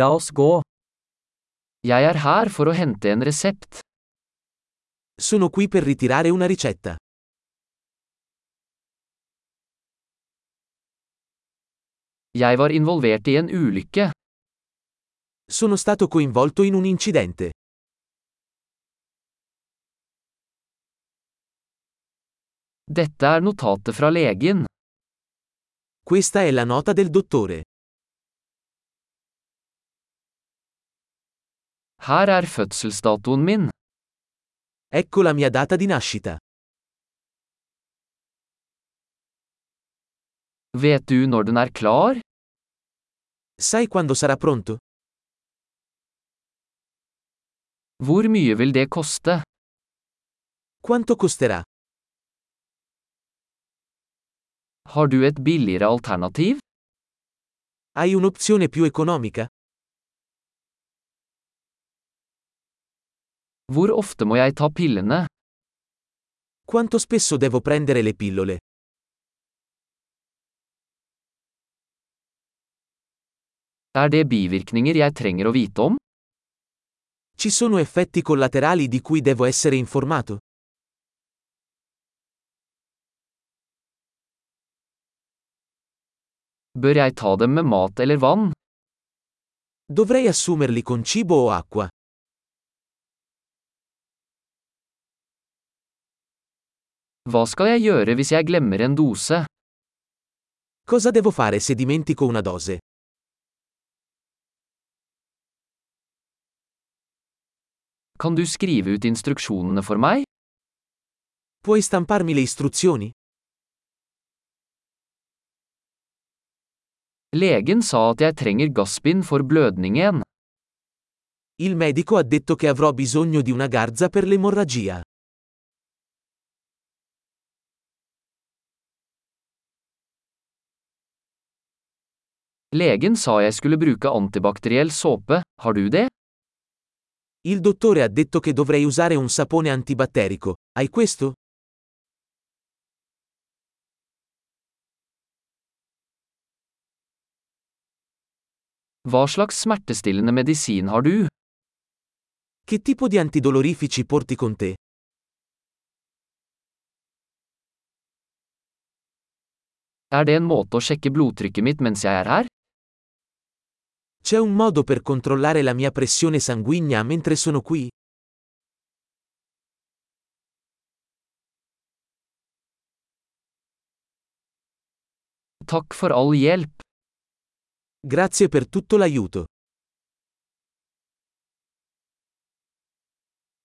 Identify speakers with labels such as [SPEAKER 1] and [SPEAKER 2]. [SPEAKER 1] La oss gå. Jeg er her for å hente en resept.
[SPEAKER 2] Sono qui per ritirare una ricetta.
[SPEAKER 1] Jeg var involvert i en ulykke.
[SPEAKER 2] Sono stato coinvolto in un incidente.
[SPEAKER 1] Dette er notatet fra legen.
[SPEAKER 2] Questa è la nota del dottore.
[SPEAKER 1] Her er fødselsdatoen min.
[SPEAKER 2] Ecco la mia data di nascita.
[SPEAKER 1] Vet du når den er klar?
[SPEAKER 2] Sai quando sarà pronto?
[SPEAKER 1] Hvor mye vil det koste?
[SPEAKER 2] Quanto costerà?
[SPEAKER 1] Har du et billigere alternativ?
[SPEAKER 2] Hai un'opzione più economica?
[SPEAKER 1] Hvor ofte må jeg ta pillene?
[SPEAKER 2] Quanto spesso devo prendere le pillole?
[SPEAKER 1] Er det bivirkninger jeg trenger å vite om?
[SPEAKER 2] Ci sono effetti collaterali di cui devo essere informato?
[SPEAKER 1] Bør jeg ta dem med mat eller vann?
[SPEAKER 2] Dovrei assumerli con cibo o acqua?
[SPEAKER 1] Hva skal jeg gjøre hvis jeg glemmer en dose?
[SPEAKER 2] Cosa devo fare se dimentico una dose?
[SPEAKER 1] Kan du skrive ut instruksjonene for meg?
[SPEAKER 2] Puoi stamparmi le istruzioni?
[SPEAKER 1] Legen sa at jeg trenger gassbind for blødningen.
[SPEAKER 2] Il medico ha detto che avrò bisogno di una garza per l'emorragia.
[SPEAKER 1] Legen sa jeg skulle bruke antibakteriell såpe, har du det?
[SPEAKER 2] Il dottore ha detto che dovrei usare un sapone antibatterico. Hai questo?
[SPEAKER 1] Hva slags smertestillende medisin har du?
[SPEAKER 2] Che tipo di antidolorifici porti con te?
[SPEAKER 1] Er det en måte å sjekke blodtrykket mitt mens jeg er her?
[SPEAKER 2] C'è un modo per controllare la mia pressione sanguigna mentre sono qui?
[SPEAKER 1] Takk for all hjelp.
[SPEAKER 2] Grazie per tutto l'aiuto.